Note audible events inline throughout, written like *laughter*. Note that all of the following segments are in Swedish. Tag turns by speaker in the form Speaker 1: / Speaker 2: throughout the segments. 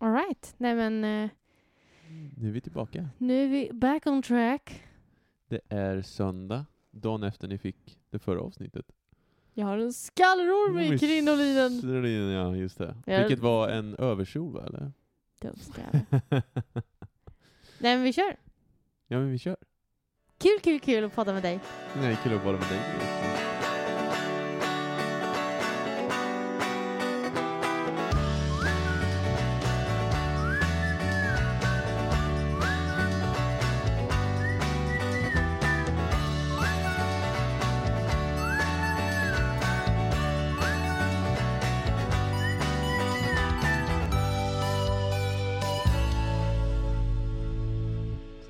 Speaker 1: Alright, nej men eh,
Speaker 2: Nu är vi tillbaka.
Speaker 1: nu är vi back on track.
Speaker 2: Det är söndag, dagen efter ni fick det förra avsnittet.
Speaker 1: Jag har en skallerorm i krinolinen.
Speaker 2: Krinolinen, ja just det.
Speaker 1: Ja.
Speaker 2: Vilket var en överkjol va, eller? *laughs*
Speaker 1: Dumskalle. Nej men vi kör.
Speaker 2: ja men vi kör.
Speaker 1: Kul, kul, kul att prata med dig.
Speaker 2: Nej, kul att vara med dig.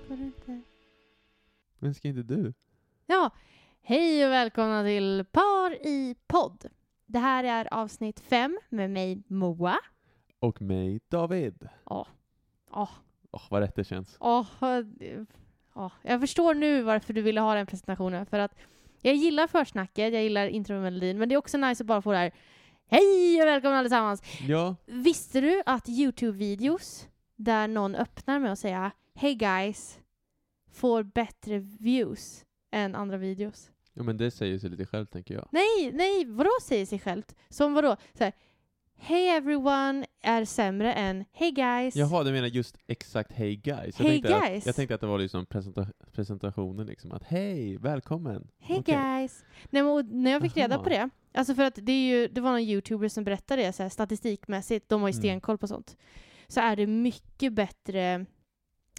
Speaker 1: Ska du inte?
Speaker 2: Men ska inte du?
Speaker 1: Ja, hej och välkomna till Par i podd. Det här är avsnitt fem med mig Moa.
Speaker 2: Och mig David.
Speaker 1: Åh,
Speaker 2: Åh, vad rätt det känns.
Speaker 1: åh, eh, åh. jag förstår nu varför du ville ha den presentationen. För att jag gillar försnacket, jag gillar intromelodin, men det är också nice att bara få det här Hej och välkomna allesammans!
Speaker 2: Ja,
Speaker 1: Visste du att YouTube-videos där någon öppnar med att säga Hey guys får bättre views än andra videos?
Speaker 2: ja men det säger sig lite själv tänker jag.
Speaker 1: Nej, nej, vadå säger sig självt? Som vadå? Så här, hey everyone är sämre än Hey guys.
Speaker 2: Jaha, du menar just exakt Hey guys?
Speaker 1: Hey
Speaker 2: tänkte
Speaker 1: guys.
Speaker 2: Att, jag tänkte att det var liksom presenta presentationen liksom, att hej, välkommen.
Speaker 1: Hey
Speaker 2: Okej.
Speaker 1: guys! Nej, men, och när jag fick reda
Speaker 2: Aha.
Speaker 1: på det, alltså för att det, är ju, det var någon youtuber som berättade det så här, statistikmässigt, de har ju
Speaker 2: Mm.
Speaker 1: stenkoll på sånt, så är det mycket bättre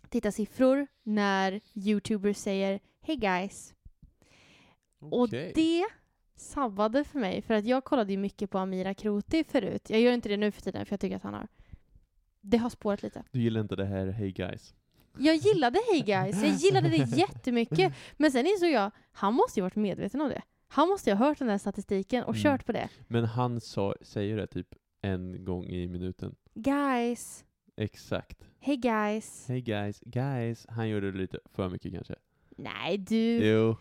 Speaker 1: tittarsiffror när youtubers säger Hey guys!
Speaker 2: Okej.
Speaker 1: Och det sabbade för mig, för att jag kollade ju mycket på Amira Kroti förut. Jag gör inte det nu för tiden, för jag tycker att han har... Det har spårat lite.
Speaker 2: Du gillar inte det här Hey guys?
Speaker 1: Jag gillade Hey Guys, jag gillade det
Speaker 2: *laughs*
Speaker 1: jättemycket. Men sen insåg jag, han måste ju varit medveten om det. Han måste ju ha hört den där statistiken och
Speaker 2: Mm.
Speaker 1: kört på det.
Speaker 2: Men han sa, säger det typ en gång i minuten.
Speaker 1: Guys,
Speaker 2: Exakt.
Speaker 1: Hey Guys.
Speaker 2: Hey guys, guys. Han gjorde det lite för mycket kanske.
Speaker 1: Nej du,
Speaker 2: Jo.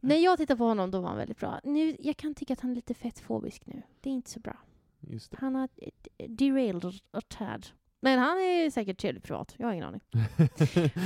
Speaker 1: när jag tittar på honom då var han väldigt bra. Nu, jag kan tycka att han är lite fettfobisk nu. Det är inte så bra.
Speaker 2: Just det.
Speaker 1: Han har eh, derailed a tad. Men han är säkert trevlig privat, jag har ingen aning.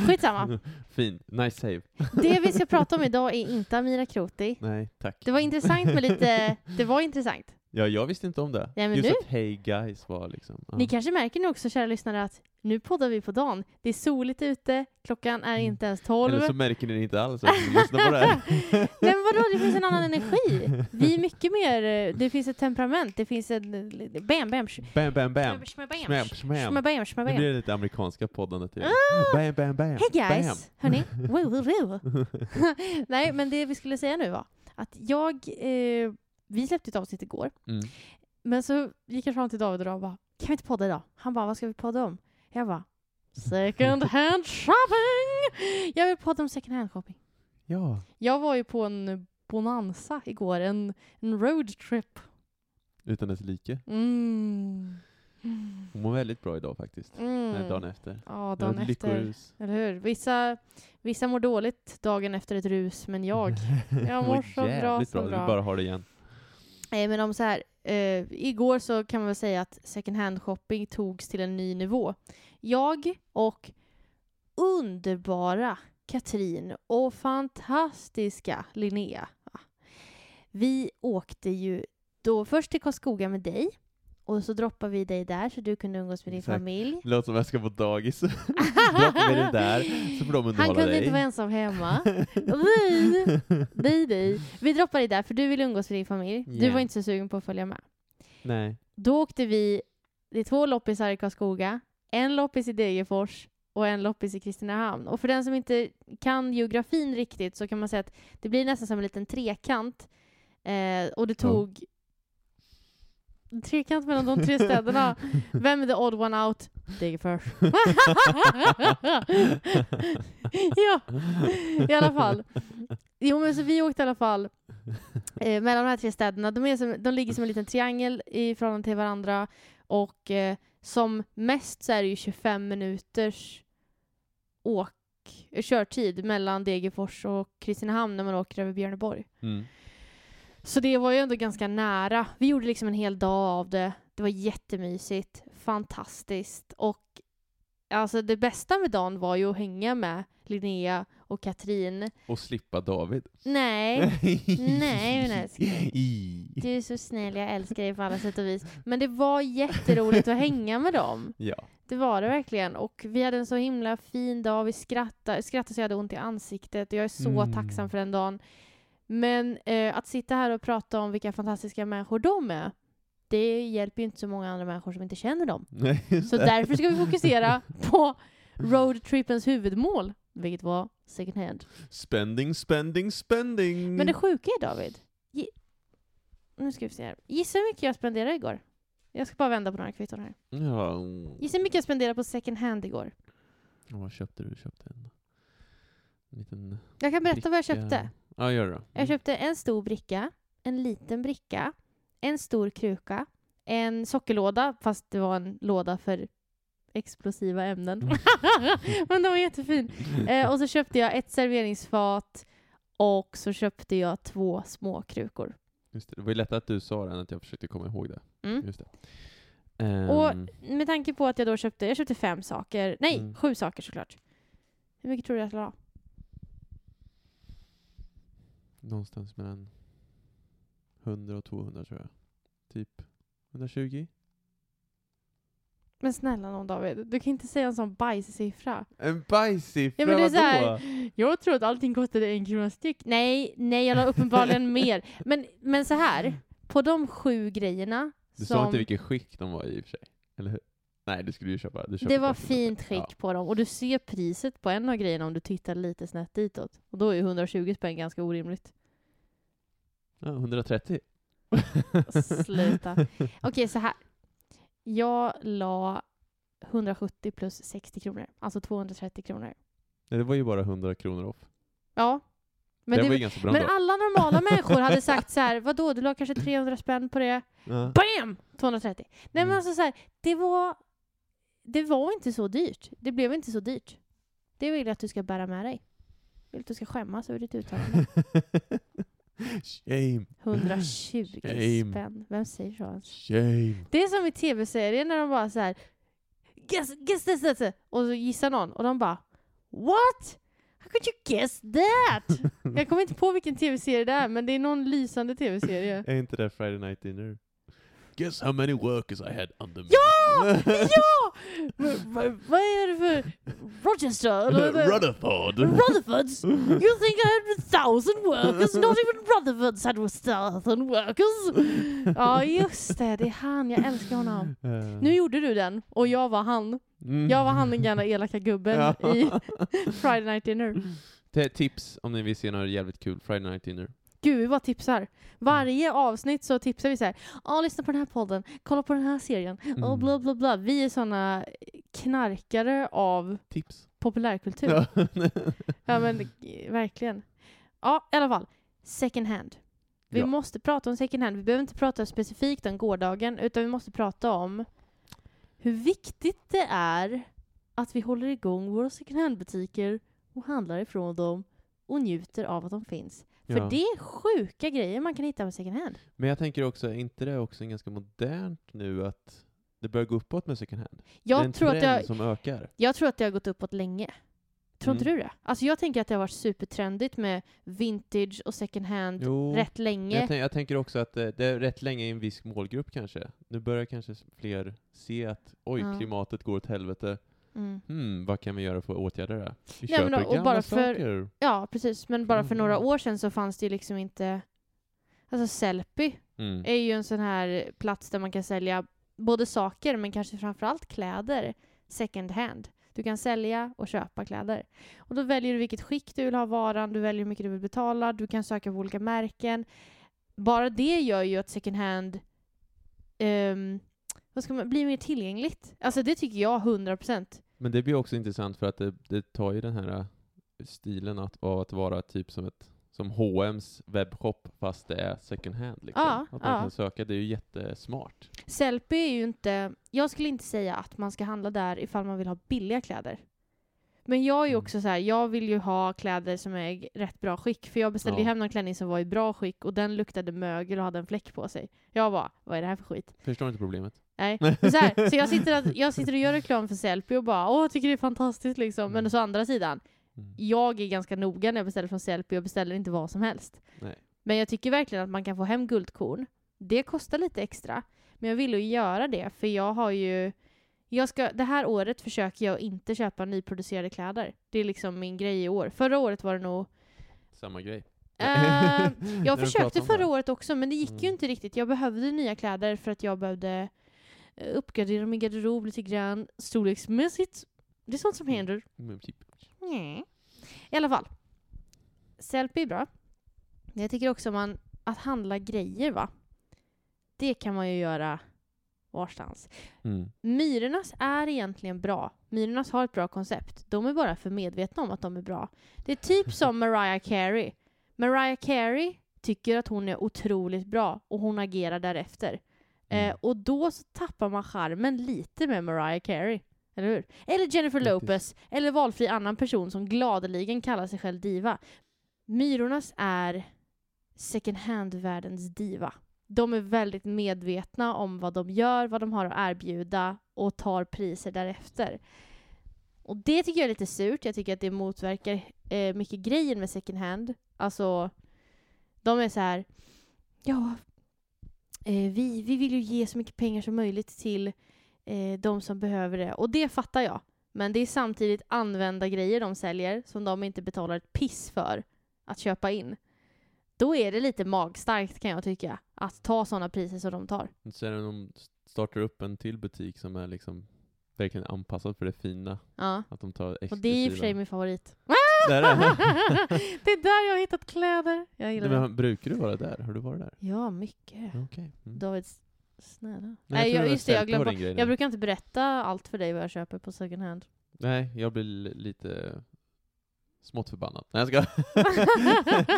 Speaker 2: *laughs*
Speaker 1: Skitsamma.
Speaker 2: Fint. Nice save.
Speaker 1: Det vi ska prata om idag är inte Amira Kroti.
Speaker 2: Nej, tack.
Speaker 1: Det var intressant med
Speaker 2: *laughs*
Speaker 1: lite, det var intressant.
Speaker 2: Ja, jag visste inte om det.
Speaker 1: Nej, men
Speaker 2: Just
Speaker 1: nu-
Speaker 2: att Hey guys var liksom... ja.
Speaker 1: Ni kanske märker nu också, kära lyssnare, att nu poddar vi på dagen. Det är soligt ute, klockan är
Speaker 2: Mm.
Speaker 1: inte ens tolv.
Speaker 2: Eller så märker ni det inte alls att ni lyssnar på det här.
Speaker 1: Nej *laughs* men vadå, det finns en annan energi. Vi är mycket mer, eh, det finns ett temperament, det finns en... eh, Bam, bam, sh-
Speaker 2: Bam, bam, bam.
Speaker 1: bam, shmabam,
Speaker 2: Smam, smam.
Speaker 1: shmabam,
Speaker 2: Nu
Speaker 1: shmabam.
Speaker 2: blir det lite amerikanska poddande till.
Speaker 1: Ah!
Speaker 2: Bam, bam, bam.
Speaker 1: Hey guys!
Speaker 2: *laughs*
Speaker 1: Hörni, woo, woo, woo. *laughs* Nej, men det vi skulle säga nu var att jag... Eh, vi släppte ett avsnitt igår,
Speaker 2: Bam. *laughs* Mm.
Speaker 1: men så gick jag fram till David och då bara Kan vi inte podda idag? Han bara, vad ska vi podda om? Jag bara,
Speaker 2: *laughs*
Speaker 1: second hand shopping! Jag vill podda om second hand shopping.
Speaker 2: Ja.
Speaker 1: Jag var ju på en bonanza igår, en, en roadtrip.
Speaker 2: Utan dess like.
Speaker 1: Mm.
Speaker 2: Hon mår väldigt bra idag faktiskt. Nej, dagen
Speaker 1: Mm.
Speaker 2: efter.
Speaker 1: Ja,
Speaker 2: Det var
Speaker 1: dagen
Speaker 2: ett
Speaker 1: efter.
Speaker 2: lyckorus.
Speaker 1: Eller hur? Vissa, vissa mår dåligt dagen efter ett rus, men jag.
Speaker 2: *laughs*
Speaker 1: Jag mår så bra,
Speaker 2: jävligt
Speaker 1: så
Speaker 2: bra.
Speaker 1: bra.
Speaker 2: Du bara har det igen.
Speaker 1: Nej, men om så här, eh, igår så kan man väl säga att second hand-shopping togs till en ny nivå. Jag och underbara Katrin och fantastiska Linnea. va? Vi åkte ju då först till Karlskoga med dig och så droppade vi dig där så du kunde umgås med din
Speaker 2: Exakt.
Speaker 1: familj.
Speaker 2: Det låter som att jag ska på dagis. *laughs* Droppa mig det där, så får de underhålla
Speaker 1: Han kunde
Speaker 2: dig.
Speaker 1: inte vara ensam
Speaker 2: *laughs*
Speaker 1: hemma. Vi, nej, nej. Vi droppade dig där för du ville umgås med din familj. Du
Speaker 2: Ja.
Speaker 1: var inte så sugen på att följa med.
Speaker 2: Nej.
Speaker 1: Då åkte vi, det är två loppisar i Karlskoga, en loppis i Degerfors och en loppis i Kristinehamn. Och för den som inte kan geografin riktigt så kan man säga att det blir nästan som en liten trekant. Eh, och det tog... En trekant mellan de tre
Speaker 2: *laughs*
Speaker 1: städerna. Vem är the odd one out? Degerfors. ja, i alla fall. Jo men så vi åkte i alla fall eh, mellan de här tre städerna. De, är som, de ligger som en liten triangel i förhållande till varandra och eh, som mest så är det ju 25 minuters åk, eh, körtid mellan Degerfors och Kristinehamn när man åker över Björneborg.
Speaker 2: Mm.
Speaker 1: Så det var ju ändå ganska nära. Vi gjorde liksom en hel dag av det. Det var jättemysigt, fantastiskt och alltså det bästa med dagen var ju att hänga med Linnea och Katrin.
Speaker 2: Och slippa David.
Speaker 1: Nej, Nej, men
Speaker 2: *laughs*
Speaker 1: älskling.
Speaker 2: I.
Speaker 1: du är så snäll, jag älskar dig på alla sätt och vis. Men det var jätteroligt att hänga med dem.
Speaker 2: Ja.
Speaker 1: Det var det verkligen. Och vi hade en så himla fin dag. Vi skrattade, skrattade så jag hade ont i ansiktet. Jag är så
Speaker 2: Mm.
Speaker 1: tacksam för den dagen. Men eh, att sitta här och prata om vilka fantastiska människor de är, det hjälper ju inte så många andra människor som inte känner dem.
Speaker 2: Nej, just
Speaker 1: Så
Speaker 2: *laughs* det.
Speaker 1: därför ska vi fokusera på roadtrippens huvudmål, vilket var second hand.
Speaker 2: Spending, spending, spending.
Speaker 1: Men det sjuka är David, gi- nu ska vi se här. Gissa hur mycket jag spenderade igår? Jag ska bara vända på några kvitton här.
Speaker 2: Ja. mm.
Speaker 1: Gissa hur mycket jag spenderade på second hand igår?
Speaker 2: Och Vad köpte du? Du köpte en en liten...
Speaker 1: Jag kan berätta vad jag
Speaker 2: bricka.
Speaker 1: köpte.
Speaker 2: Ja, gör det då.
Speaker 1: Jag köpte *laughs* en stor bricka, en liten bricka, en stor kruka, en sockerlåda, fast det var en låda för explosiva ämnen. *laughs* Men den var
Speaker 2: *laughs*
Speaker 1: jättefin. Eh, och så köpte jag ett serveringsfat och så köpte jag två små krukor.
Speaker 2: Just det. det var ju lättare att du sa det än att jag försökte komma ihåg det.
Speaker 1: Mm.
Speaker 2: Just det. Ehm,
Speaker 1: Och med tanke på att jag då köpte, jag köpte fem saker, nej,
Speaker 2: Mm.
Speaker 1: sju saker såklart. Hur mycket tror du att jag la?
Speaker 2: Någonstans mellan 100 och 200 tror jag. Typ 120?
Speaker 1: Men snälla någon David, du kan inte säga en sån bajssiffra.
Speaker 2: En bajsiffra,
Speaker 1: Ja, men det är
Speaker 2: vadå?
Speaker 1: så här- Jag tror att allting kostade en krona styck. Nej, nej, jag la
Speaker 2: *laughs*
Speaker 1: uppenbarligen mer. Men, men så här, på de sju grejerna
Speaker 2: Du sa
Speaker 1: som...
Speaker 2: inte vilket skick de var i och för sig, eller hur? Nej, du skulle ju köpa... Du köpte
Speaker 1: Det var
Speaker 2: bara för
Speaker 1: fint
Speaker 2: mycket.
Speaker 1: skick på dem och du ser priset på en av grejerna om du tittar lite snett ditåt. Och då är ju 120 spänn ganska orimligt.
Speaker 2: Ja. Ja, 130.
Speaker 1: Sluta. Okej, så här. Jag la 170 plus 60 kronor, alltså 230 kronor.
Speaker 2: Nej, det var ju bara 100 kronor off.
Speaker 1: Ja. Men,
Speaker 2: det, var
Speaker 1: det,
Speaker 2: ju ganska bra
Speaker 1: men
Speaker 2: ändå.
Speaker 1: alla
Speaker 2: *laughs*
Speaker 1: normala människor hade sagt så här, vadå, du la kanske 300 spänn på det?
Speaker 2: Ja.
Speaker 1: BAM! 230. Nej men
Speaker 2: Mm.
Speaker 1: alltså så här, det var... Det var inte så dyrt. Det blev inte så dyrt. Det vill jag att du ska bära med dig. Jag vill att du ska skämmas över ditt
Speaker 2: *laughs*
Speaker 1: uttalande.
Speaker 2: *laughs* Shame,
Speaker 1: 120
Speaker 2: Shame.
Speaker 1: spänn. Vem säger så ens?
Speaker 2: shame.
Speaker 1: Det är som i tv-serier när de bara så här... Guess, guess this, this, this." Och så gissar någon och de bara What? How could you guess that? Jag kommer inte på vilken tv-serie det är men det är någon lysande
Speaker 2: *laughs*
Speaker 1: tv-serie.
Speaker 2: Är inte det Friday Night Dinner? Guess how many workers I had under *laughs* me.
Speaker 1: Ja! Ja! V- v- Vad är det för Rochester? Eller- eller-
Speaker 2: Rutherford!
Speaker 1: Rutherfords? You think I had a thousand workers? Not even Rutherfords had a thousand workers! Ja, just det. Det är han. Jag älskar honom.
Speaker 2: Eh,
Speaker 1: Nu gjorde du den, och jag var han.
Speaker 2: mm.
Speaker 1: Jag var han den gamla elaka gubben
Speaker 2: Ja.
Speaker 1: i *laughs* Friday Night Dinner.
Speaker 2: T- Tips om ni vill se något jävligt kul, Friday Night Dinner.
Speaker 1: Gud, vi bara tipsar.
Speaker 2: Mm.
Speaker 1: Varje avsnitt så tipsar vi så här. Ja, lyssna på den här podden. Kolla på den här serien. Och
Speaker 2: Mm.
Speaker 1: bla, bla, bla. Vi är såna eh, knarkare av
Speaker 2: Tips.
Speaker 1: populärkultur.
Speaker 2: *laughs* Ja.
Speaker 1: Ja men eh, verkligen. Ja, i alla fall. Second hand. Vi
Speaker 2: Ja.
Speaker 1: måste prata om second hand. Vi behöver inte prata specifikt om gårdagen, utan vi måste prata om hur viktigt det är att vi håller igång våra second hand-butiker och handlar ifrån dem och njuter av att de finns. För
Speaker 2: Ja.
Speaker 1: det är sjuka grejer man kan hitta på second hand.
Speaker 2: Men jag tänker också, är inte det också ganska modernt nu att det börjar gå uppåt med second hand? det är en
Speaker 1: Jag tror, att
Speaker 2: trend
Speaker 1: jag,
Speaker 2: som ökar.
Speaker 1: jag tror att det har gått uppåt länge. Tror inte
Speaker 2: Mm.
Speaker 1: du det? Alltså jag tänker att det har varit supertrendigt med vintage och second hand
Speaker 2: Jo,
Speaker 1: rätt
Speaker 2: men
Speaker 1: länge.
Speaker 2: jag, tän- jag tänker också att eh, det är rätt länge i en viss målgrupp kanske. Nu börjar kanske s- fler se att oj,
Speaker 1: Ja.
Speaker 2: klimatet går åt helvete.
Speaker 1: Mm.
Speaker 2: Hmm, vad kan vi göra för att åtgärda det? här? Vi
Speaker 1: Nej, men
Speaker 2: köper
Speaker 1: och- och
Speaker 2: gamla
Speaker 1: bara för-
Speaker 2: saker.
Speaker 1: Ja, precis. Men bara för
Speaker 2: Mm.
Speaker 1: några år sedan så fanns det ju liksom inte... Alltså Sellpy
Speaker 2: Mm.
Speaker 1: är ju en sån här plats där man kan sälja både saker, men kanske framförallt kläder, second hand. Du kan sälja och köpa kläder. Och då väljer du vilket skick du vill ha varan, du väljer hur mycket du vill betala, du kan söka på olika märken. Bara det gör ju att second hand ehm, vad ska man, blir mer tillgängligt. Alltså det tycker jag 100%.
Speaker 2: Men det blir också intressant för att det, det tar ju den här eh, stilen att, av att vara typ som ett som H&M's webbshop fast det är second hand liksom.
Speaker 1: Ja,
Speaker 2: att man
Speaker 1: ja.
Speaker 2: kan söka, det är ju jättesmart.
Speaker 1: Sellpy är ju inte... Jag skulle inte säga att man ska handla där ifall man vill ha billiga kläder. Men jag är ju
Speaker 2: Mm.
Speaker 1: också så här, jag vill ju ha kläder som är i rätt bra skick. För jag beställde ju
Speaker 2: Ja.
Speaker 1: hem någon klänning som var i bra skick och den luktade mögel och hade en fläck på sig. Jag bara, vad är det här för skit?
Speaker 2: Förstår inte problemet.
Speaker 1: Nej. Men så här, så jag sitter, att, jag sitter och gör reklam för Sellpy och bara, åh, tycker det är fantastiskt liksom. Men
Speaker 2: Mm.
Speaker 1: så å andra sidan,
Speaker 2: Mm.
Speaker 1: jag är ganska noga när jag beställer från Sellpy och beställer inte vad som helst.
Speaker 2: Nej.
Speaker 1: Men jag tycker verkligen att man kan få hem guldkorn. Det kostar lite extra. Men jag ville ju göra det, för jag har ju... Jag ska, det här året försöker jag inte köpa nyproducerade kläder. Det är liksom min grej i år. Förra året var det nog...
Speaker 2: Samma grej. *laughs*
Speaker 1: Eh,
Speaker 2: När
Speaker 1: jag
Speaker 2: du
Speaker 1: försökte
Speaker 2: pratar om
Speaker 1: förra
Speaker 2: Mm, det.
Speaker 1: året också, men det gick ju
Speaker 2: Mm.
Speaker 1: inte riktigt. Jag behövde nya kläder för att jag behövde eh, uppgradera min garderob lite grann, storleksmässigt. Det är sånt som
Speaker 2: Mm.
Speaker 1: händer.
Speaker 2: Mm, typ.
Speaker 1: Nej. I alla fall. Sellpy är bra. Jag tycker också man, att handla grejer va. Det kan man ju göra varstans.
Speaker 2: Mm.
Speaker 1: Myrornas är egentligen bra. Myrornas har ett bra koncept. De är bara för medvetna om att de är bra. Det är typ som Mariah Carey. Mariah Carey tycker att hon är otroligt bra och hon agerar därefter.
Speaker 2: Mm.
Speaker 1: Eh, och då så tappar man charmen lite med Mariah Carey. Eller hur? Eller Jennifer
Speaker 2: Faktiskt.
Speaker 1: Lopez, eller valfri annan person som gladeligen kallar sig själv diva. Myrornas är second hand-världens diva. De är väldigt medvetna om vad de gör, vad de har att erbjuda och tar priser därefter. Och det tycker jag är lite surt. Jag tycker att det motverkar eh, mycket grejen med second hand. Alltså, de är så här, ja, eh, vi, vi vill ju ge så mycket pengar som möjligt till eh, de som behöver det. Och det fattar jag. Men det är samtidigt använda grejer de säljer som de inte betalar ett piss för att köpa in. Då är det lite magstarkt kan jag tycka, att ta sådana priser som de tar.
Speaker 2: Sen om de startar upp en till butik som är liksom verkligen anpassad för det fina.
Speaker 1: Ja.
Speaker 2: Att de tar exklusiva.
Speaker 1: Och det är i och för sig min favorit.
Speaker 2: Där är det.
Speaker 1: *laughs* det är där jag har hittat kläder. Jag gillar
Speaker 2: Nej,
Speaker 1: det.
Speaker 2: men, brukar du vara där? Har du varit där?
Speaker 1: Ja, mycket.
Speaker 2: Okej. Mm.
Speaker 1: David, s- snälla.
Speaker 2: Nej,
Speaker 1: Nej,
Speaker 2: tror
Speaker 1: jag,
Speaker 2: var
Speaker 1: just det, jag
Speaker 2: Celtic var
Speaker 1: glömde
Speaker 2: din grej nu.
Speaker 1: Jag brukar inte berätta allt för dig vad jag köper på second hand.
Speaker 2: Nej, jag blir li- lite smått förbannad. Nej, jag
Speaker 1: *laughs*
Speaker 2: ska.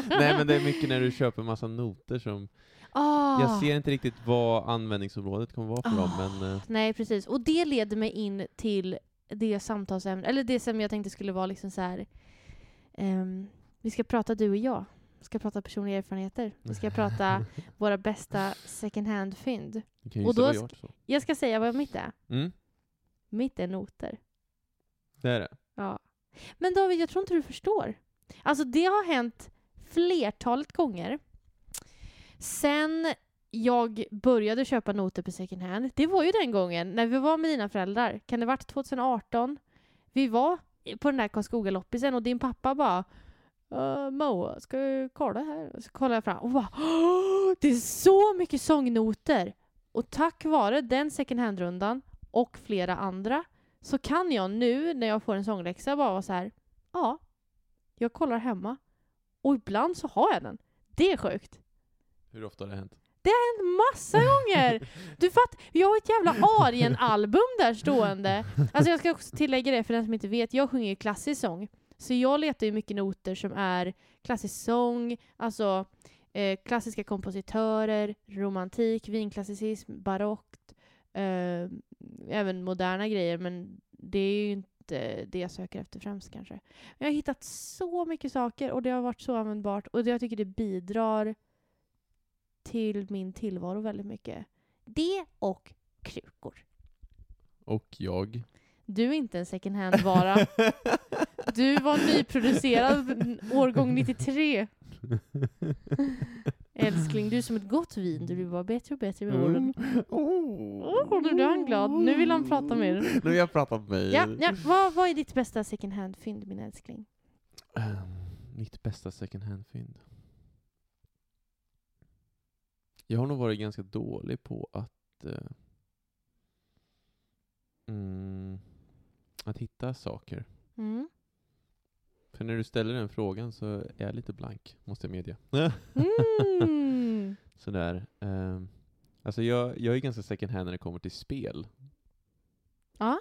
Speaker 2: Nej, men det är mycket när du köper massa noter som...
Speaker 1: Ah,
Speaker 2: Jag ser inte riktigt vad användningsområdet kommer vara för dem, men... eh,
Speaker 1: Nej, precis. Och det leder mig in till det samtalsämne, eller det som jag tänkte skulle vara liksom så här. ehm, vi ska prata du och jag. Vi ska prata personliga erfarenheter.
Speaker 2: eh,
Speaker 1: Vi ska
Speaker 2: *laughs*
Speaker 1: prata våra bästa second hand-fynd.
Speaker 2: Du kan ju
Speaker 1: Och
Speaker 2: gissa
Speaker 1: då
Speaker 2: vad jag
Speaker 1: sk-
Speaker 2: har gjort så.
Speaker 1: Jag ska säga vad mitt är.
Speaker 2: Mm,
Speaker 1: Mitt är noter.
Speaker 2: det är det.
Speaker 1: Ja. Men David, jag tror inte du förstår. Alltså det har hänt flertalet gånger. Sen jag började köpa noter på second hand, det var ju den gången när vi var med dina föräldrar. Kan det varit 2018? Vi var på den där Karlskoga-loppisen och din pappa bara Uh, Moa, ska du kolla här? Så kollar jag fram och bara "Åh, Det är så mycket sångnoter! Och tack vare den second hand-rundan och flera andra så kan jag nu när jag får en sångläxa bara vara så här. Ja, jag kollar hemma. Och ibland så har jag den. Det är sjukt.
Speaker 2: Hur ofta har det hänt?
Speaker 1: En massa gånger! Du fattar, jag har ett jävla Arien-album där stående. Alltså jag ska också tillägga det för den som inte vet, jag sjunger ju klassisk sång. Så jag letar ju mycket noter som är klassisk sång, alltså eh, klassiska kompositörer, romantik, vinklassicism, barockt, eh, även moderna grejer, men det är ju inte det jag söker efter främst kanske. Men jag har hittat så mycket saker och det har varit så användbart och det, jag tycker det bidrar till min tillvaro väldigt mycket. Det och krukor.
Speaker 2: Och jag.
Speaker 1: Du är inte en second
Speaker 2: *laughs*
Speaker 1: hand-vara. Du var nyproducerad årgång 93. Älskling, du är som ett gott vin. Du blir bara bättre och bättre
Speaker 2: Mm.
Speaker 1: med åren.
Speaker 2: Åh,
Speaker 1: Åh, nu blir han glad. Nu vill han prata mer.
Speaker 2: Oh. Nu vill jag prata med mig.
Speaker 1: Ja, ja. Vad, vad är ditt bästa second hand-fynd, min älskling?
Speaker 2: Ehm, Mitt bästa second hand-fynd. Jag har nog varit ganska dålig på att eh, mm, att hitta saker.
Speaker 1: Mm.
Speaker 2: För när du ställer den frågan så är jag lite blank, måste jag medge.
Speaker 1: Mm.
Speaker 2: Sådär. Um, alltså jag, jag är ganska second hand när det kommer till spel. *laughs*
Speaker 1: Ja.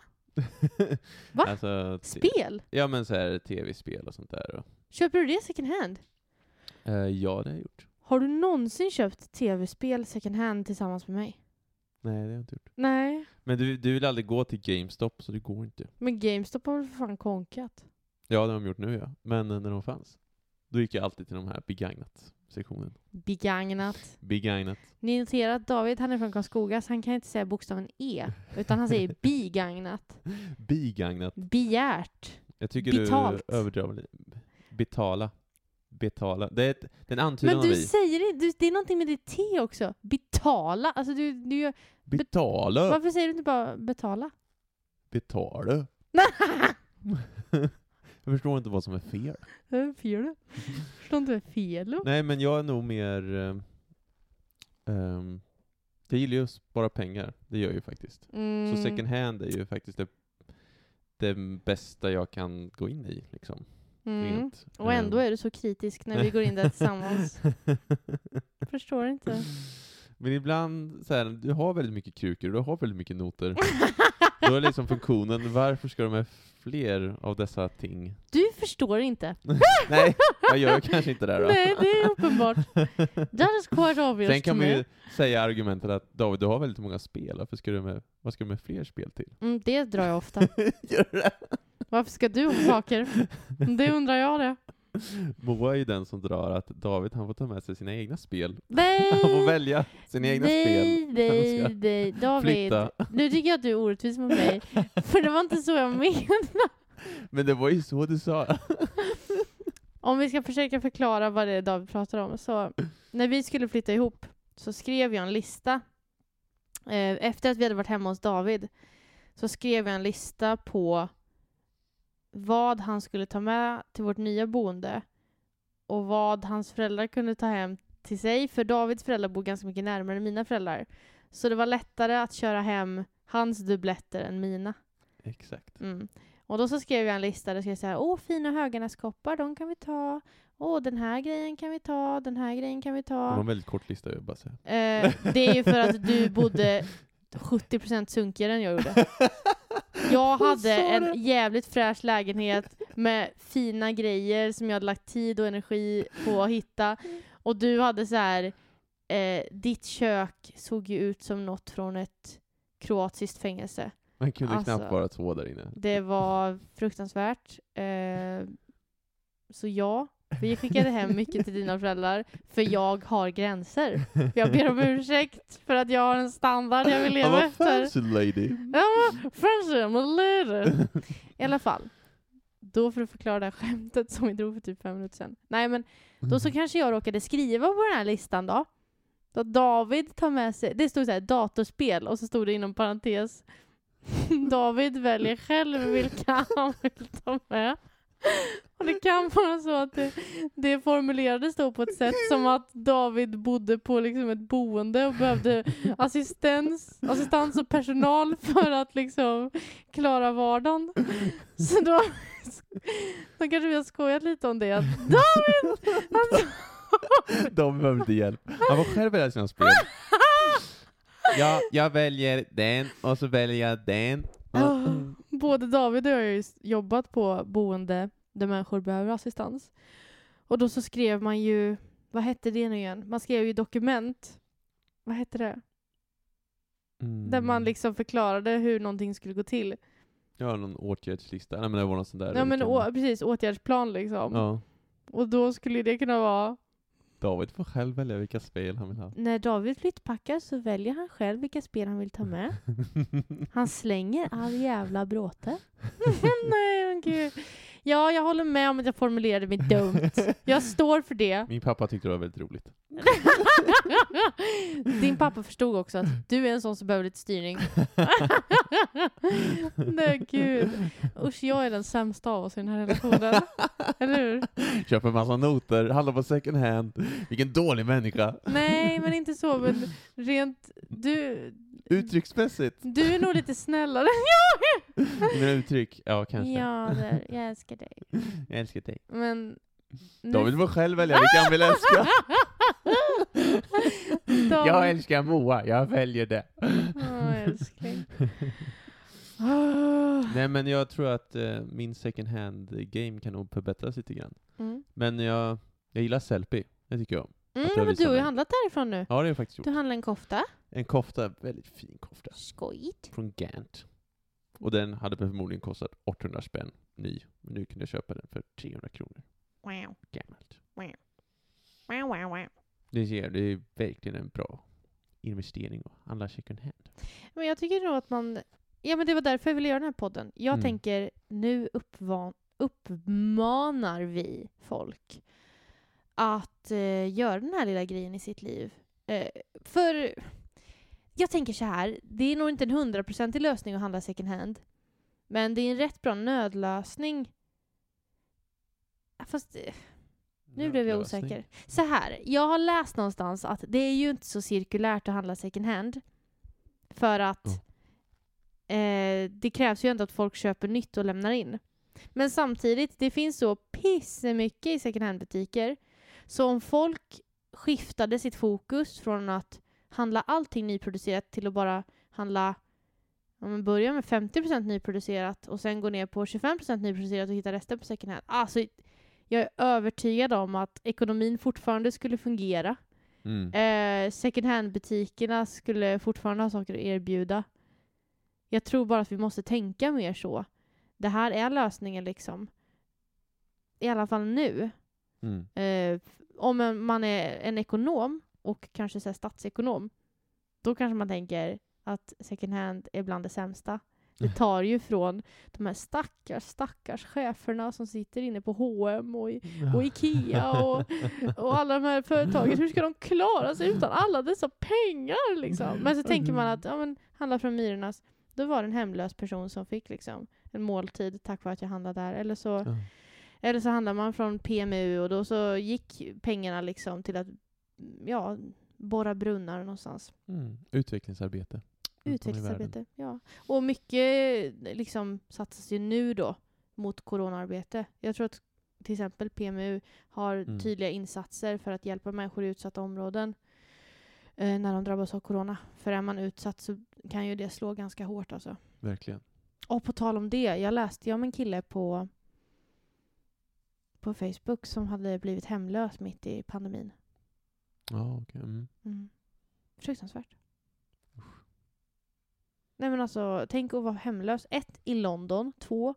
Speaker 1: Va?
Speaker 2: Alltså, te-
Speaker 1: Spel?
Speaker 2: Ja men såhär tv-spel och sånt där. Och,
Speaker 1: Köper du det second hand?
Speaker 2: eh, ja, det har jag gjort.
Speaker 1: Har du någonsin köpt tv-spel second hand tillsammans med mig?
Speaker 2: Nej, det har jag inte gjort.
Speaker 1: Nej.
Speaker 2: Men du, du vill aldrig gå till GameStop, så det går inte.
Speaker 1: Men GameStop har väl för fan konkat?
Speaker 2: Ja, det har de gjort nu ja. Men eh, när de fanns, då gick jag alltid till de här begagnat-sektionen.
Speaker 1: Begagnat.
Speaker 2: Begagnat.
Speaker 1: Ni noterar att David, han är från Karlskoga, så han kan inte säga bokstaven E, utan han
Speaker 2: *laughs*
Speaker 1: säger bigagnat.
Speaker 2: Begagnat.
Speaker 1: Begärt.
Speaker 2: Jag tycker
Speaker 1: Betalt.
Speaker 2: du överdriver lite. Betala. Betala. Det är, ett, det är en antydan
Speaker 1: Men
Speaker 2: av
Speaker 1: du
Speaker 2: i.
Speaker 1: säger inte, du- det är någonting med ditt T också. Betala. Alltså du, du gör,
Speaker 2: Betala.
Speaker 1: varför säger du inte bara
Speaker 2: *laughs*
Speaker 1: betala?
Speaker 2: Betala. jag förstår inte vad som är fel.
Speaker 1: Vad är fel då? Förstår inte vad fel då?
Speaker 2: Nej, men jag är nog mer... ehm, ehm, jag gillar ju att spara pengar. Det gör jag ju faktiskt.
Speaker 1: Mm.
Speaker 2: Så second hand är ju faktiskt det, det bästa jag kan gå in i. Liksom,
Speaker 1: mm.
Speaker 2: rent,
Speaker 1: Och ändå
Speaker 2: ehm.
Speaker 1: är du så kritisk när vi går in där
Speaker 2: *laughs*
Speaker 1: tillsammans. Förstår inte.
Speaker 2: Men ibland, så här, du har väldigt mycket krukor och du har väldigt mycket noter. *laughs* Då är liksom funktionen, varför ska de ha fler av dessa ting?
Speaker 1: Du förstår inte.
Speaker 2: Nej, jag gör kanske inte det här då.
Speaker 1: Nej, det är uppenbart.
Speaker 2: *laughs*
Speaker 1: That is quite obvious
Speaker 2: Sen kan
Speaker 1: to
Speaker 2: man
Speaker 1: me.
Speaker 2: ju säga argumentet att David, du har väldigt många spel, varför ska du med, vad ska du med fler spel till?
Speaker 1: Mm, det drar jag ofta.
Speaker 2: *laughs* Gör det?
Speaker 1: Varför ska du ha saker? Det undrar jag det.
Speaker 2: *laughs* Moa är ju den som drar att David, han får ta med sig sina egna spel.
Speaker 1: Nej!
Speaker 2: Han får välja sina egna spel.
Speaker 1: nej, nej,
Speaker 2: Han
Speaker 1: nej, David.
Speaker 2: Flytta.
Speaker 1: Nu tycker jag att du är orättvis mot mig. För det var inte så jag menade.
Speaker 2: Men det var ju så du sa. *laughs*
Speaker 1: *laughs* Om vi ska försöka förklara vad det är David pratar om. Så när vi skulle flytta ihop så skrev jag en lista. Eh, Efter att vi hade varit hemma hos David så skrev jag en lista på vad han skulle ta med till vårt nya boende och vad hans föräldrar kunde ta hem till sig. För Davids föräldrar bor ganska mycket närmare mina föräldrar. Så det var lättare att köra hem hans dubbletter än mina.
Speaker 2: Exakt.
Speaker 1: Mm. Och då så skrev jag en lista där jag skrev så här, åh fina Höganäskoppar, de kan vi ta. Åh, den här grejen kan vi ta, den här grejen kan vi
Speaker 2: Det
Speaker 1: ta.
Speaker 2: var en väldigt kort lista, jag vill bara säga.
Speaker 1: Eh, det är ju för att du bodde 70% sunkigare än jag
Speaker 2: *laughs*
Speaker 1: gjorde. Jag
Speaker 2: Hon
Speaker 1: hade
Speaker 2: sa det.
Speaker 1: en jävligt fräsch lägenhet med fina grejer som jag hade lagt tid och energi på att hitta. Och du hade så här, eh, ditt kök såg ju ut som något från ett kroatiskt fängelse.
Speaker 2: Man kunde
Speaker 1: Alltså.
Speaker 2: knappt vara två där inne.
Speaker 1: Det var fruktansvärt. Eh, så ja, vi skickade hem mycket till dina
Speaker 2: *laughs*
Speaker 1: föräldrar, för jag har gränser. Jag ber om ursäkt för att jag har en standard jag vill
Speaker 2: Ja,
Speaker 1: leva
Speaker 2: vad
Speaker 1: efter.
Speaker 2: fancy lady.
Speaker 1: Ja, vad fancy, I'm a leader. I alla fall, då för att förklara det här skämtet som vi drog för typ fem minuter sedan. Nej men, då
Speaker 2: *laughs* Mm.
Speaker 1: så kanske jag råkade skriva på den här listan då. Då David tar med sig, det stod så här datorspel och så stod det inom parentes *laughs* David väljer själv vilka *laughs* han vill ta med. Och det kan vara så att det, det formulerades då på ett sätt som att David bodde på liksom ett boende och behövde assistens, assistans och personal för att liksom klara vardagen. Så då, då kanske vi har skojat lite om det. Att David!
Speaker 2: *laughs*
Speaker 1: Alltså,
Speaker 2: De behöver inte hjälp. Han får själv välja sina spel. Ja, jag väljer den, och så väljer jag den.
Speaker 1: Ah, både David och jag har ju s- jobbat på boende där människor behöver assistans. Och då så skrev man ju, vad hette det nu igen? Man skrev ju dokument. Vad hette det?
Speaker 2: Mm.
Speaker 1: Där man liksom förklarade hur någonting skulle gå till.
Speaker 2: Jag har någon åtgärdslista. Nej men det var någon sån där.
Speaker 1: Ja men
Speaker 2: Kan-
Speaker 1: å, precis, åtgärdsplan liksom.
Speaker 2: ja.
Speaker 1: Och då skulle det kunna vara
Speaker 2: David får själv välja vilka spel han vill ha.
Speaker 1: När David flyttpackar så väljer han själv vilka spel han vill ta med. Han slänger all jävla bråte. *laughs* Nej, men gud. Ja, jag håller med om att jag formulerade mig dumt. Jag står för
Speaker 2: *laughs*
Speaker 1: det.
Speaker 2: Min pappa tyckte det var väldigt roligt.
Speaker 1: Din pappa förstod också att du är en sån som behöver lite styrning. *laughs*
Speaker 2: *laughs*
Speaker 1: Nej, gud. Usch, jag är den sämsta av oss i den här relationen. Eller hur?
Speaker 2: Köper massa noter, handlar på second hand. Vilken dålig
Speaker 1: Mm.
Speaker 2: människa.
Speaker 1: Nej, men inte så. Men rent... Du,
Speaker 2: Uttrycksmässigt.
Speaker 1: du är nog lite snällare än jag är.
Speaker 2: *laughs* Mina uttryck. Ja, kanske.
Speaker 1: Ja, där, jag älskar dig.
Speaker 2: Jag älskar dig.
Speaker 1: Men... nu-
Speaker 2: David får själv välja vilka han vill älska.
Speaker 1: David-
Speaker 2: Jag älskar Moa, jag väljer det.
Speaker 1: *laughs* Åh, älskling. Ah.
Speaker 2: Nej men jag tror att eh, min second hand game kan nog förbättras lite grann.
Speaker 1: Mm.
Speaker 2: Men jag, jag gillar Sellpy, det tycker jag om.
Speaker 1: Mm,
Speaker 2: jag
Speaker 1: men
Speaker 2: visar
Speaker 1: du har ju
Speaker 2: mig.
Speaker 1: handlat därifrån nu.
Speaker 2: Ja det har jag faktiskt
Speaker 1: Du
Speaker 2: gjort.
Speaker 1: handlade en kofta.
Speaker 2: En kofta, väldigt fin kofta.
Speaker 1: Skojigt.
Speaker 2: Från Gant. Och den hade förmodligen kostat 800 spänn ny. Men nu kunde jag köpa den för 300 kronor.
Speaker 1: Wow,
Speaker 2: Gammalt.
Speaker 1: wow, wow, wow.
Speaker 2: Det är, det är verkligen en bra investering att handla second hand.
Speaker 1: Men jag tycker nog att man... Ja, men det var därför jag ville göra den här podden. Jag
Speaker 2: Mm.
Speaker 1: tänker, nu uppvan, uppmanar vi folk att eh, göra den här lilla grejen i sitt liv. Eh, för jag tänker så här, det är nog inte en hundraprocentig lösning att handla second hand. Men det är en rätt bra nödlösning. Ja, Fast eh, nu blev jag
Speaker 2: Nödlösning.
Speaker 1: osäker. Så här, jag har läst någonstans att det är ju inte så cirkulärt att handla second hand. För att eh, det krävs ju ändå att folk köper nytt och lämnar in. Men samtidigt, det finns så pissemycket i second hand-butiker. Så om folk skiftade sitt fokus från att handla allting nyproducerat till att bara handla om man börjar med 50% nyproducerat och sen går ner på 25% nyproducerat och hittar resten på second hand. Alltså, jag är övertygad om att ekonomin fortfarande skulle fungera.
Speaker 2: Mm.
Speaker 1: Eh, second hand-butikerna skulle fortfarande ha saker att erbjuda. Jag tror bara att vi måste tänka mer så. Det här är lösningen liksom. I alla fall nu.
Speaker 2: Mm.
Speaker 1: Eh, om en- man är en ekonom och kanske så här statsekonom, då kanske man tänker att second hand är bland det sämsta. Det tar ju från de här stackars, stackars cheferna som sitter inne på H&M och i *laughs* och Ikea och, och alla de här företagen. Hur ska de klara sig utan alla dessa pengar liksom? Men så tänker man att, ja men, handla från Myrornas. Då var det en hemlös person som fick liksom en måltid tack vare att jag handlade där. Eller så,
Speaker 2: Ja.
Speaker 1: eller så handlar man från PMU och då så gick pengarna liksom till att, ja, borra brunnar någonstans.
Speaker 2: Mm. Utvecklingsarbete. Runt om i världen.
Speaker 1: Utvecklingsarbete, ja. Och mycket liksom satsas ju nu då mot coronaarbete. Jag tror att till exempel PMU har
Speaker 2: Mm.
Speaker 1: tydliga insatser för att hjälpa människor i utsatta områden eh, när de drabbas av corona. För är man utsatt så kan ju det slå ganska hårt alltså.
Speaker 2: Verkligen.
Speaker 1: Och på tal om det, jag läste ju om en kille på på Facebook som hade blivit hemlös mitt i pandemin.
Speaker 2: Ja, okej. Mm.
Speaker 1: Mm. Fruktansvärt. Nej men alltså, tänk att vara hemlös. Ett, i London. Två,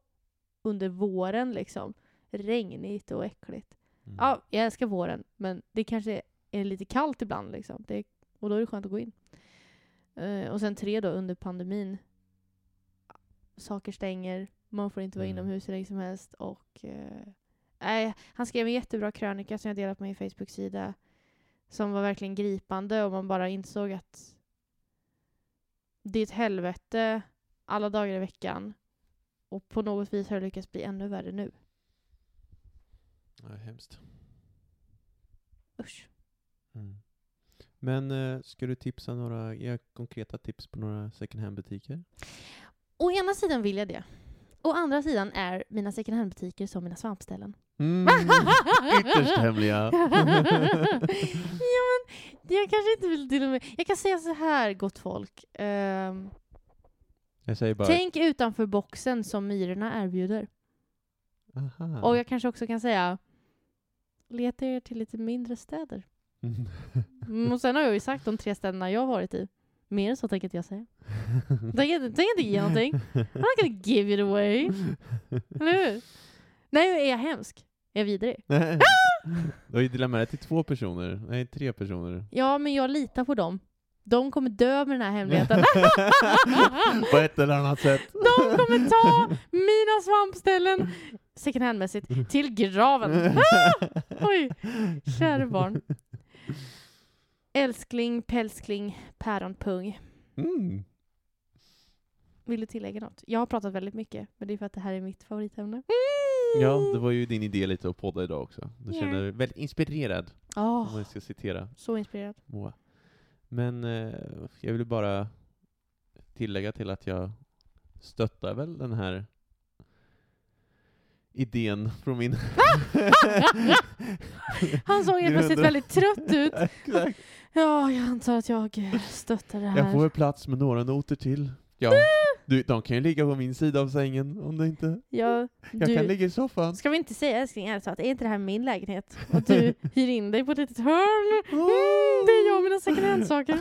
Speaker 1: under våren liksom. Regnigt och äckligt.
Speaker 2: Mm.
Speaker 1: Ja, jag älskar våren, men det kanske är lite kallt ibland liksom. Det, och då är det skönt att gå in. Eh, och sen tre då, under pandemin. Saker stänger, man får inte vara
Speaker 2: Mm.
Speaker 1: inomhus hur länge som helst och... eh, nej, han skrev en jättebra krönika som jag delat på min Facebook-sida som var verkligen gripande och man bara insåg att det är ett helvete alla dagar i veckan och på något vis har det lyckats bli ännu värre nu.
Speaker 2: Ja, hemskt.
Speaker 1: Usch.
Speaker 2: Mm. Men eh, ska du tipsa några, ge konkreta tips på några second hand-butiker?
Speaker 1: Å ena sidan vill jag det. Å andra sidan är mina second hand-butiker som mina svampställen. *laughs*
Speaker 2: Mm. Ytterst hemliga.
Speaker 1: ja, men jag kanske inte vill till och med... Jag kan säga så här, gott folk. Ehm,
Speaker 2: Jag säger bara,
Speaker 1: tänk utanför boxen som myrorna erbjuder.
Speaker 2: aha.
Speaker 1: Och jag kanske också kan säga, leta er till lite mindre städer. *laughs*
Speaker 2: Mm.
Speaker 1: Mm, och sen har jag ju sagt de tre städerna jag har varit i. Mer än så tänker inte jag säga. Tänker inte, tänker inte ge
Speaker 2: *laughs*
Speaker 1: någonting. I'm not gonna give it away. Eller hur? Nej, är jag hemsk? Är jag vidrig? *laughs*
Speaker 2: Nej. Du har ju delat med dig till två personer, nej tre personer.
Speaker 1: Ja, men jag litar på dem. De kommer dö med den här *laughs* hemligheten.
Speaker 2: *laughs* på ett eller annat sätt.
Speaker 1: De kommer ta mina svampställen, second hand-mässigt, till
Speaker 2: *laughs*
Speaker 1: graven. Ah! Oj, kära barn. Älskling, pälskling, päronpung.
Speaker 2: Mm.
Speaker 1: Vill du tillägga något? Jag har pratat väldigt mycket, men det är för att det här är mitt favoritämne.
Speaker 2: Ja, det var ju din idé lite att podda idag också. Du
Speaker 1: Ja.
Speaker 2: känner dig väldigt inspirerad, om
Speaker 1: Åh,
Speaker 2: jag ska citera
Speaker 1: så inspirerad.
Speaker 2: Moa. Men eh, jag vill bara tillägga till att jag stöttar väl den här idén från min...
Speaker 1: *laughs* Han såg helt
Speaker 2: Min
Speaker 1: plötsligt
Speaker 2: hund.
Speaker 1: väldigt trött ut.
Speaker 2: *laughs* Exakt.
Speaker 1: Ja, jag antar att jag stöttar det här.
Speaker 2: Jag får väl plats med några noter till. Ja, Du, de kan ju ligga på min sida av sängen om det inte...
Speaker 1: Jag,
Speaker 2: Jag
Speaker 1: du,
Speaker 2: kan ligga i soffan.
Speaker 1: Ska vi inte säga älskling, ärligt talat, är inte det här min lägenhet? Och du hyr in dig på ett litet hörn. Mm, det är jag och mina second
Speaker 2: *laughs*
Speaker 1: hand-saker.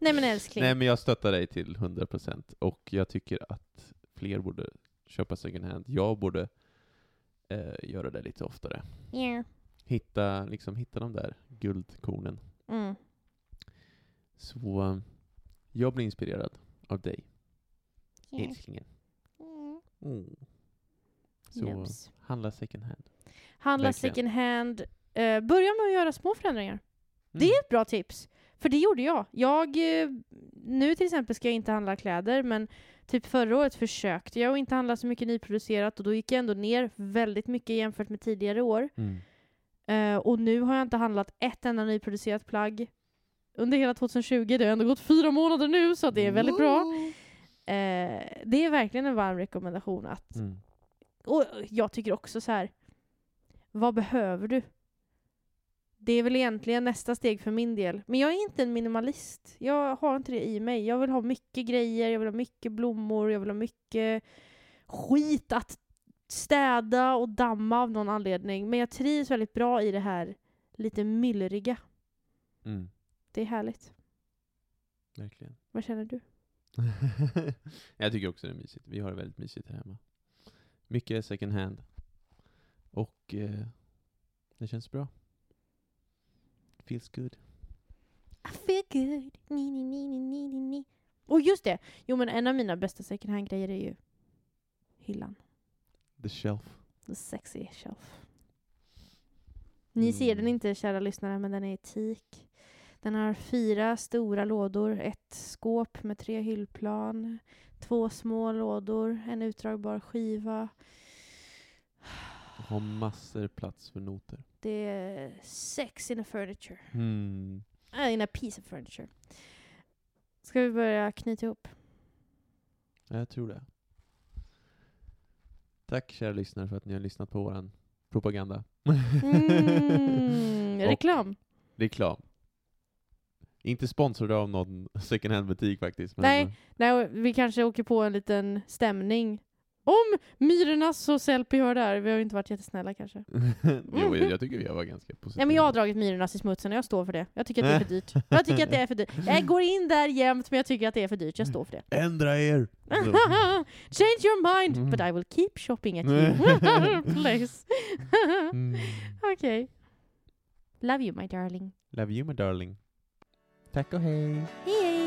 Speaker 1: Nej men älskling.
Speaker 2: Nej, men jag stöttar dig till 100% och jag tycker att fler borde köpa second hand. Jag borde eh, göra det lite oftare.
Speaker 1: Yeah.
Speaker 2: Hitta, liksom, hitta de där guldkornen.
Speaker 1: Mm.
Speaker 2: Så eh, jag blir inspirerad av dig, älskingen.
Speaker 1: Mm.
Speaker 2: Mm. Så
Speaker 1: Yups.
Speaker 2: handla second hand.
Speaker 1: Handla
Speaker 2: verkligen.
Speaker 1: second hand. Eh, börja med att göra små förändringar.
Speaker 2: Mm.
Speaker 1: Det är ett bra tips. För det gjorde jag. Jag, eh, nu till exempel ska jag inte handla kläder, men typ förra året försökte jag att inte handla så mycket nyproducerat och då gick jag ändå ner väldigt mycket jämfört med tidigare år.
Speaker 2: Mm.
Speaker 1: Eh, och nu har jag inte handlat ett enda nyproducerat plagg under hela 2020. Det har ändå gått fyra månader nu, så det är väldigt bra. Eh, det är verkligen en varm rekommendation. Att,
Speaker 2: Mm.
Speaker 1: och jag tycker också så här. vad behöver du? Det är väl egentligen nästa steg för min del. Men jag är inte en minimalist. Jag har inte det i mig. Jag vill ha mycket grejer, jag vill ha mycket blommor, jag vill ha mycket skit att städa och damma av någon anledning. Men jag trivs väldigt bra i det här lite myllriga.
Speaker 2: Mm.
Speaker 1: Det är härligt.
Speaker 2: Verkligen.
Speaker 1: Vad känner du?
Speaker 2: *laughs* jag tycker också det är mysigt. Vi har det väldigt mysigt här hemma. Mycket second hand. Och eh, det känns bra. Feels good.
Speaker 1: I feel good. Ni, ni, ni, ni, ni, ni, ni. Och just det! Jo men en av mina bästa second hand-grejer är ju hyllan.
Speaker 2: The shelf.
Speaker 1: The sexy shelf. Ni ser
Speaker 2: Mm.
Speaker 1: den inte, kära lyssnare, men den är i teak. Den har fyra stora lådor, ett skåp med tre hyllplan, två små lådor, en utdragbar skiva.
Speaker 2: Har massor plats för noter.
Speaker 1: Det är sex in a furniture.
Speaker 2: Mm.
Speaker 1: Äh, in a piece of furniture. Ska vi börja knyta ihop?
Speaker 2: *laughs* Jag tror det. Tack kära lyssnare för att ni har lyssnat på våran propaganda.
Speaker 1: Mm,
Speaker 2: Och-
Speaker 1: reklam.
Speaker 2: *laughs* Reklam. Inte sponsrade av någon second hand-butik faktiskt. Men
Speaker 1: Nej. Nej, och vi kanske åker på en liten stämning. Om Myrornas och Sellpy hör det här, vi har ju inte varit jättesnälla kanske.
Speaker 2: jo, jag, jag tycker vi var ganska positiva.
Speaker 1: Mm. Nej men jag har dragit Myrornas i smutsen och jag står för det. Jag tycker att det är för dyrt. Jag tycker att det är för dyrt. Jag går in där jämt men jag tycker att det är för dyrt. Jag står för det.
Speaker 2: Ändra er!
Speaker 1: *laughs* Change your mind! But I will keep shopping at *laughs* your place.
Speaker 2: *laughs* Mm.
Speaker 1: *laughs* Okej. Love you my darling.
Speaker 2: Love you my darling. Tack och hej!
Speaker 1: Hej hej!